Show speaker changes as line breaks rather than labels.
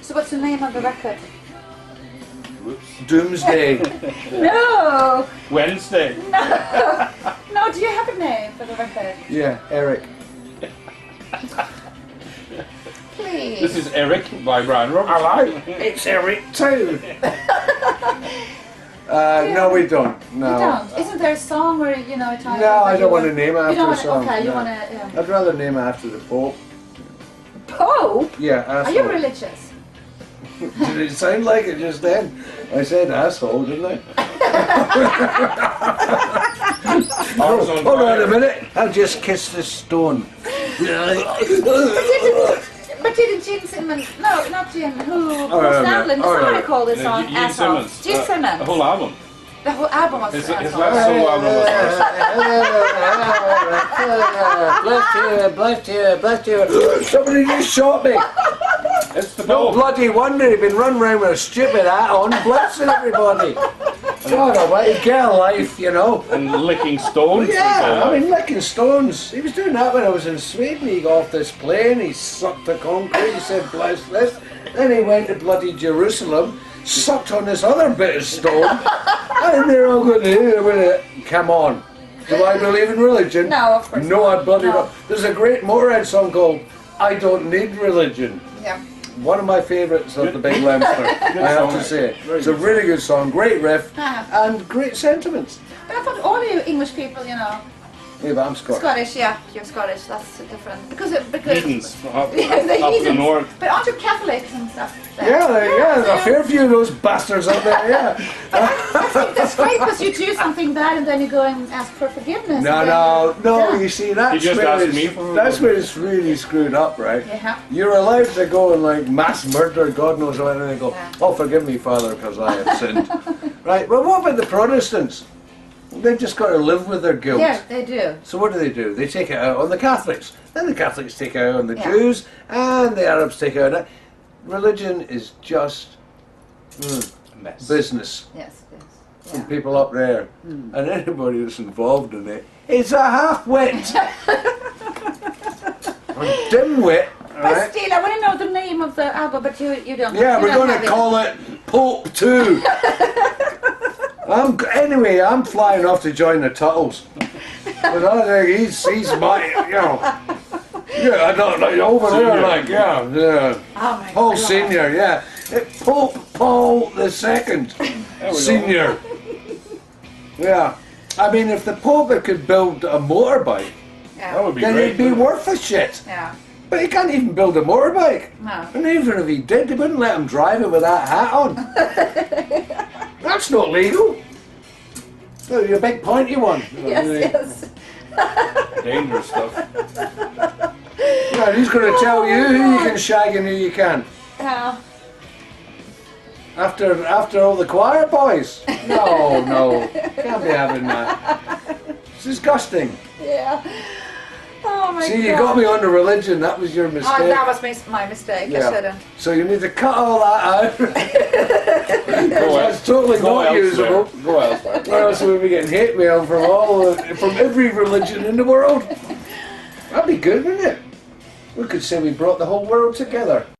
So what's the name on the record?
Whoops.
Doomsday.
No!
Wednesday.
No! no, do you have a name for the record?
yeah, Eric.
Please.
This is Eric by Brian Roberts. Hello.
It's Eric too. uh, no, we don't. No.
You don't. Isn't there a song where you know it?
No, I don't want to name
You
it after
don't
a
want to.
song.
Okay, you
no.
want to. Yeah.
I'd rather name it after the Pope.
Pope?
Yeah,
Are
asshole.
you religious?
Did it sound like it just then? I said asshole, didn't I?
I was on
Oh, Hold on a
fire. um,
minute. I'll just kiss this stone.
But didn't, but didn't Gene Simmons? No, not Gene. Who? Paul
right,
Stanley.
all right.
Somebody called this
Uh,
song
Gene
asshole.
Simmons.
Gene
Uh,
Simmons.
The whole album.
The whole album was
His,
an
his
asshole.
last solo album was awesome.
bless you, bless you, bless you. Somebody just shot me.
It's the
No
Pope.
bloody wonder he'd been running around with a stupid hat on, blessing everybody. God, I want to get a life, you know.
and licking stones. uh,
Yeah, I mean, licking stones. He was doing that when I was in Sweden. He got off this plane, he sucked the concrete, he said, bless this. Then he went to bloody Jerusalem, sucked on this other bit of stone, and they're all going, "Eh, well, eh, come on. Do I believe in religion?
No, of course
No, I
not.
bloody
No.
don't. There's a great Motorhead song called I Don't Need Religion.
Yeah.
One of my favourites of the Big Lemster, I have
song,
to say.
actually. Very
It's a
good
really good song, great riff,
Ah.
and great sentiments.
But I thought all you English people, you know,
Yeah, but I'm Scottish.
Scottish. Yeah, you're Scottish. That's different because it- because.
Heathens. Up,
Yeah, the
up the
heathens.
north.
But aren't you Catholics and stuff? there?
Yeah, there- yeah, there's a
so-
fair few of those bastards out there, yeah.
That's great because you do something bad and then you go and ask for forgiveness.
No,
and then-
no, no,
Yeah.
you see, that's,
You just
where,
asked
it's,
me for-
that's where it's really screwed up, right?
Yeah.
You're allowed to go and like mass murder, God knows what, and they go,
Yeah.
oh, forgive me, Father, because I have sinned. right, well, what about the Protestants? They've just got to live with their guilt.
Yeah, they do.
So what do they do? They take it out on the Catholics. Then the Catholics take it out on the
Yeah.
Jews, and the Arabs take it out. Religion is just mm,
Mess.
business.
Yes, yes.
and people up there
Hmm.
and anybody that's involved in it is a half-wit. a dimwit,
But
right?
still, I want to know the name of the album, but you you don't.
Yeah,
you
we're
don't
going
have
to
it.
call it Pope 2. I'm, g- anyway, I'm flying off to join the Tuttles. But I think he's, he's my, you know. Yeah, I don't know, over there,
Senior.
like, yeah, yeah.
Oh my
Paul
God.
Senior, yeah. Eh, Pope Paul the Second,
we go.
Senior. yeah, I mean, if the Pope could build a motorbike,
Yeah.
That would be
then
great.
it'd be
wouldn't it?
worth a shit.
yeah.
But he can't even build a motorbike.
No.
And even if he did, they wouldn't let him drive it with that hat on. That's not legal. No, your big pointy one.
Yes, yes.
Dangerous stuff.
Yeah, he's going to tell you who you
Oh,
can shag and who you can't.
Yeah.
After after all the choir boys? No, no. Can't be having that. It's disgusting.
yeah. Oh my God.
See, you got me onto religion. That was your mistake.
Oh, that was mis- my mistake. I shouldn't.
So you need to cut all that out.
Go
That's totally
go
not
elsewhere.
usable.
Go elsewhere.
Or else we'll be getting hate mail from all the, from every religion in the world. That'd be good, wouldn't it? We could say we brought the whole world together.